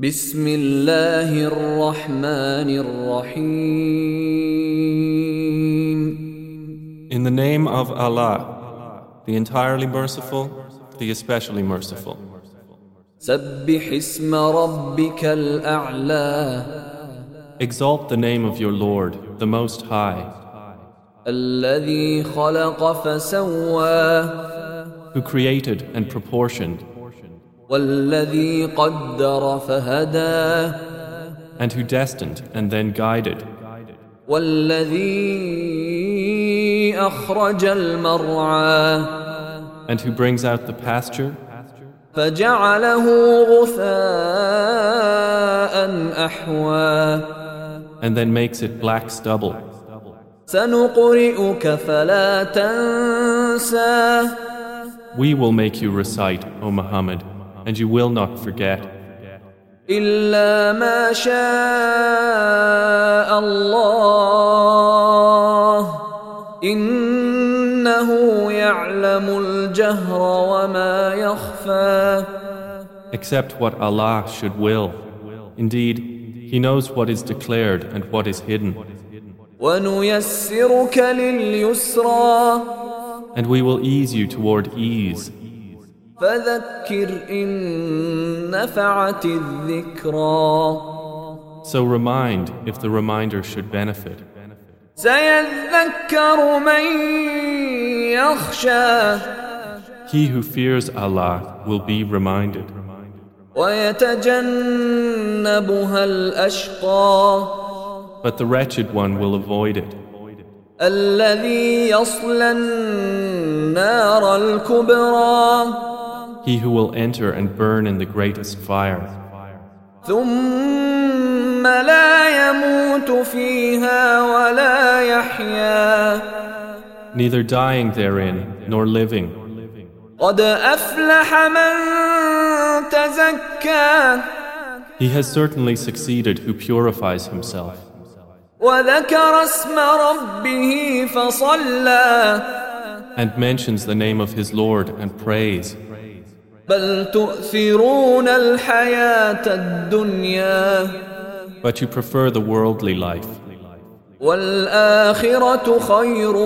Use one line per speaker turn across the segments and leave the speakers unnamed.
بسم الله الرحمن الرحيم
In the name of Allah, the entirely merciful, the especially merciful.
سبح اسم ربك الأعلى
Exalt the name of your Lord, the Most High,
الذي خلق فسوى
who created and proportioned,
والذي قدر فهدى
and who destined and then guided,
والذي أخرج المرعى
and who brings out the pasture
فجعله غثاء أحوى
and then makes it black stubble.
سنقرئك فلا تنسى
We will make you recite, O Muhammad, and you will not forget,
إلا ما شاء الله إنه يعلم الجهر وما يخفى
except what Allah should will. Indeed, He knows what is declared and what is hidden.
ونيسرك لليسرى
And we will ease you toward ease.
فذكر إن نفعت الذكرى
So remind if the reminder should benefit.
سيذكر من يخشى
He who fears Allah will be reminded,
ويتجنبها الأشقى
but the wretched one will avoid it.
الذي يصلى النار الكبرى
He who will enter and burn in the greatest fire,
ثم لا يموت فيها ولا يحيا
neither dying therein nor living,
قد أفلح من تزكى
he has certainly succeeded who purifies himself.
وذكر اسم ربه فصلى
And mentions the name of his Lord and prays.
بل تؤثرون الحياة الدنيا
But you prefer the worldly life,
والآخرة خير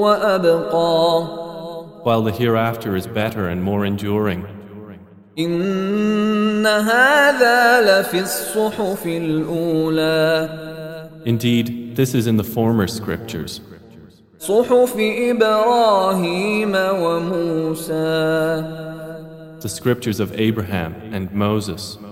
وأبقى
while the hereafter is better and more enduring.
إن هذا لفي الصحف الأولى
Indeed, this is in the former scriptures.
صحف إبراهيم وموسى
the scriptures of Abraham and Moses,